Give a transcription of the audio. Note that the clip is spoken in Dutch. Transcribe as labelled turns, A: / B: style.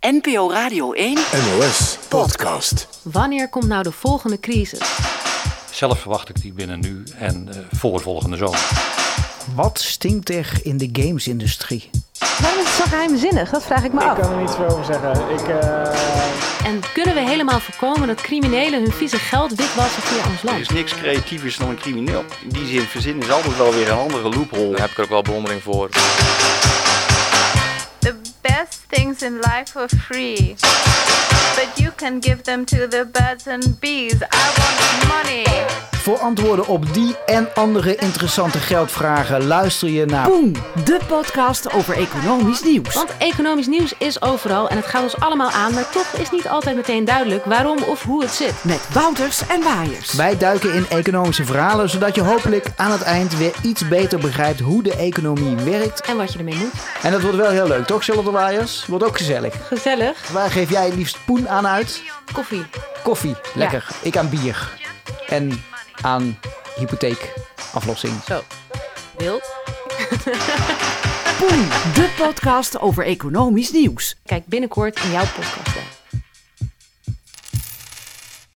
A: NPO Radio 1.
B: NOS Podcast.
C: Wanneer komt nou de volgende crisis?
D: Zelf verwacht ik die binnen nu en eh, voor volgende zomer.
E: Wat stinkt er in de gamesindustrie?
F: Waarom is het zo geheimzinnig? Dat vraag ik me af.
G: Ik kan er niet zoveel over zeggen. Ik, eh,
C: En kunnen we helemaal voorkomen dat criminelen hun vieze geld witwassen via ons
H: Er is
C: land?
H: niks creatievers dan een crimineel. In die zin verzinnen is altijd wel weer een andere loophole.
I: Daar heb ik er ook wel bewondering voor.
J: The best things in life are free, but you can give them to the birds and bees. I want money.
E: Voor antwoorden op die en andere interessante geldvragen luister je naar.
K: Boom, de podcast over economisch nieuws.
C: Want economisch nieuws is overal en het gaat ons allemaal aan, maar toch is niet altijd meteen duidelijk waarom of hoe het zit.
K: Met Wouters en Waaiers.
E: Wij duiken in economische verhalen zodat je hopelijk aan het eind weer iets beter begrijpt hoe de economie werkt.
C: En wat je ermee moet.
E: En dat wordt wel heel leuk, toch, Charlotte Waaiers? Wordt ook gezellig.
C: Gezellig.
E: Waar geef jij liefst poen aan uit?
C: Koffie.
E: Koffie, lekker. Ik aan bier. En aan hypotheekaflossing.
C: Zo. Wild.
K: Boom, de podcast over economisch nieuws.
C: Kijk binnenkort in jouw podcast.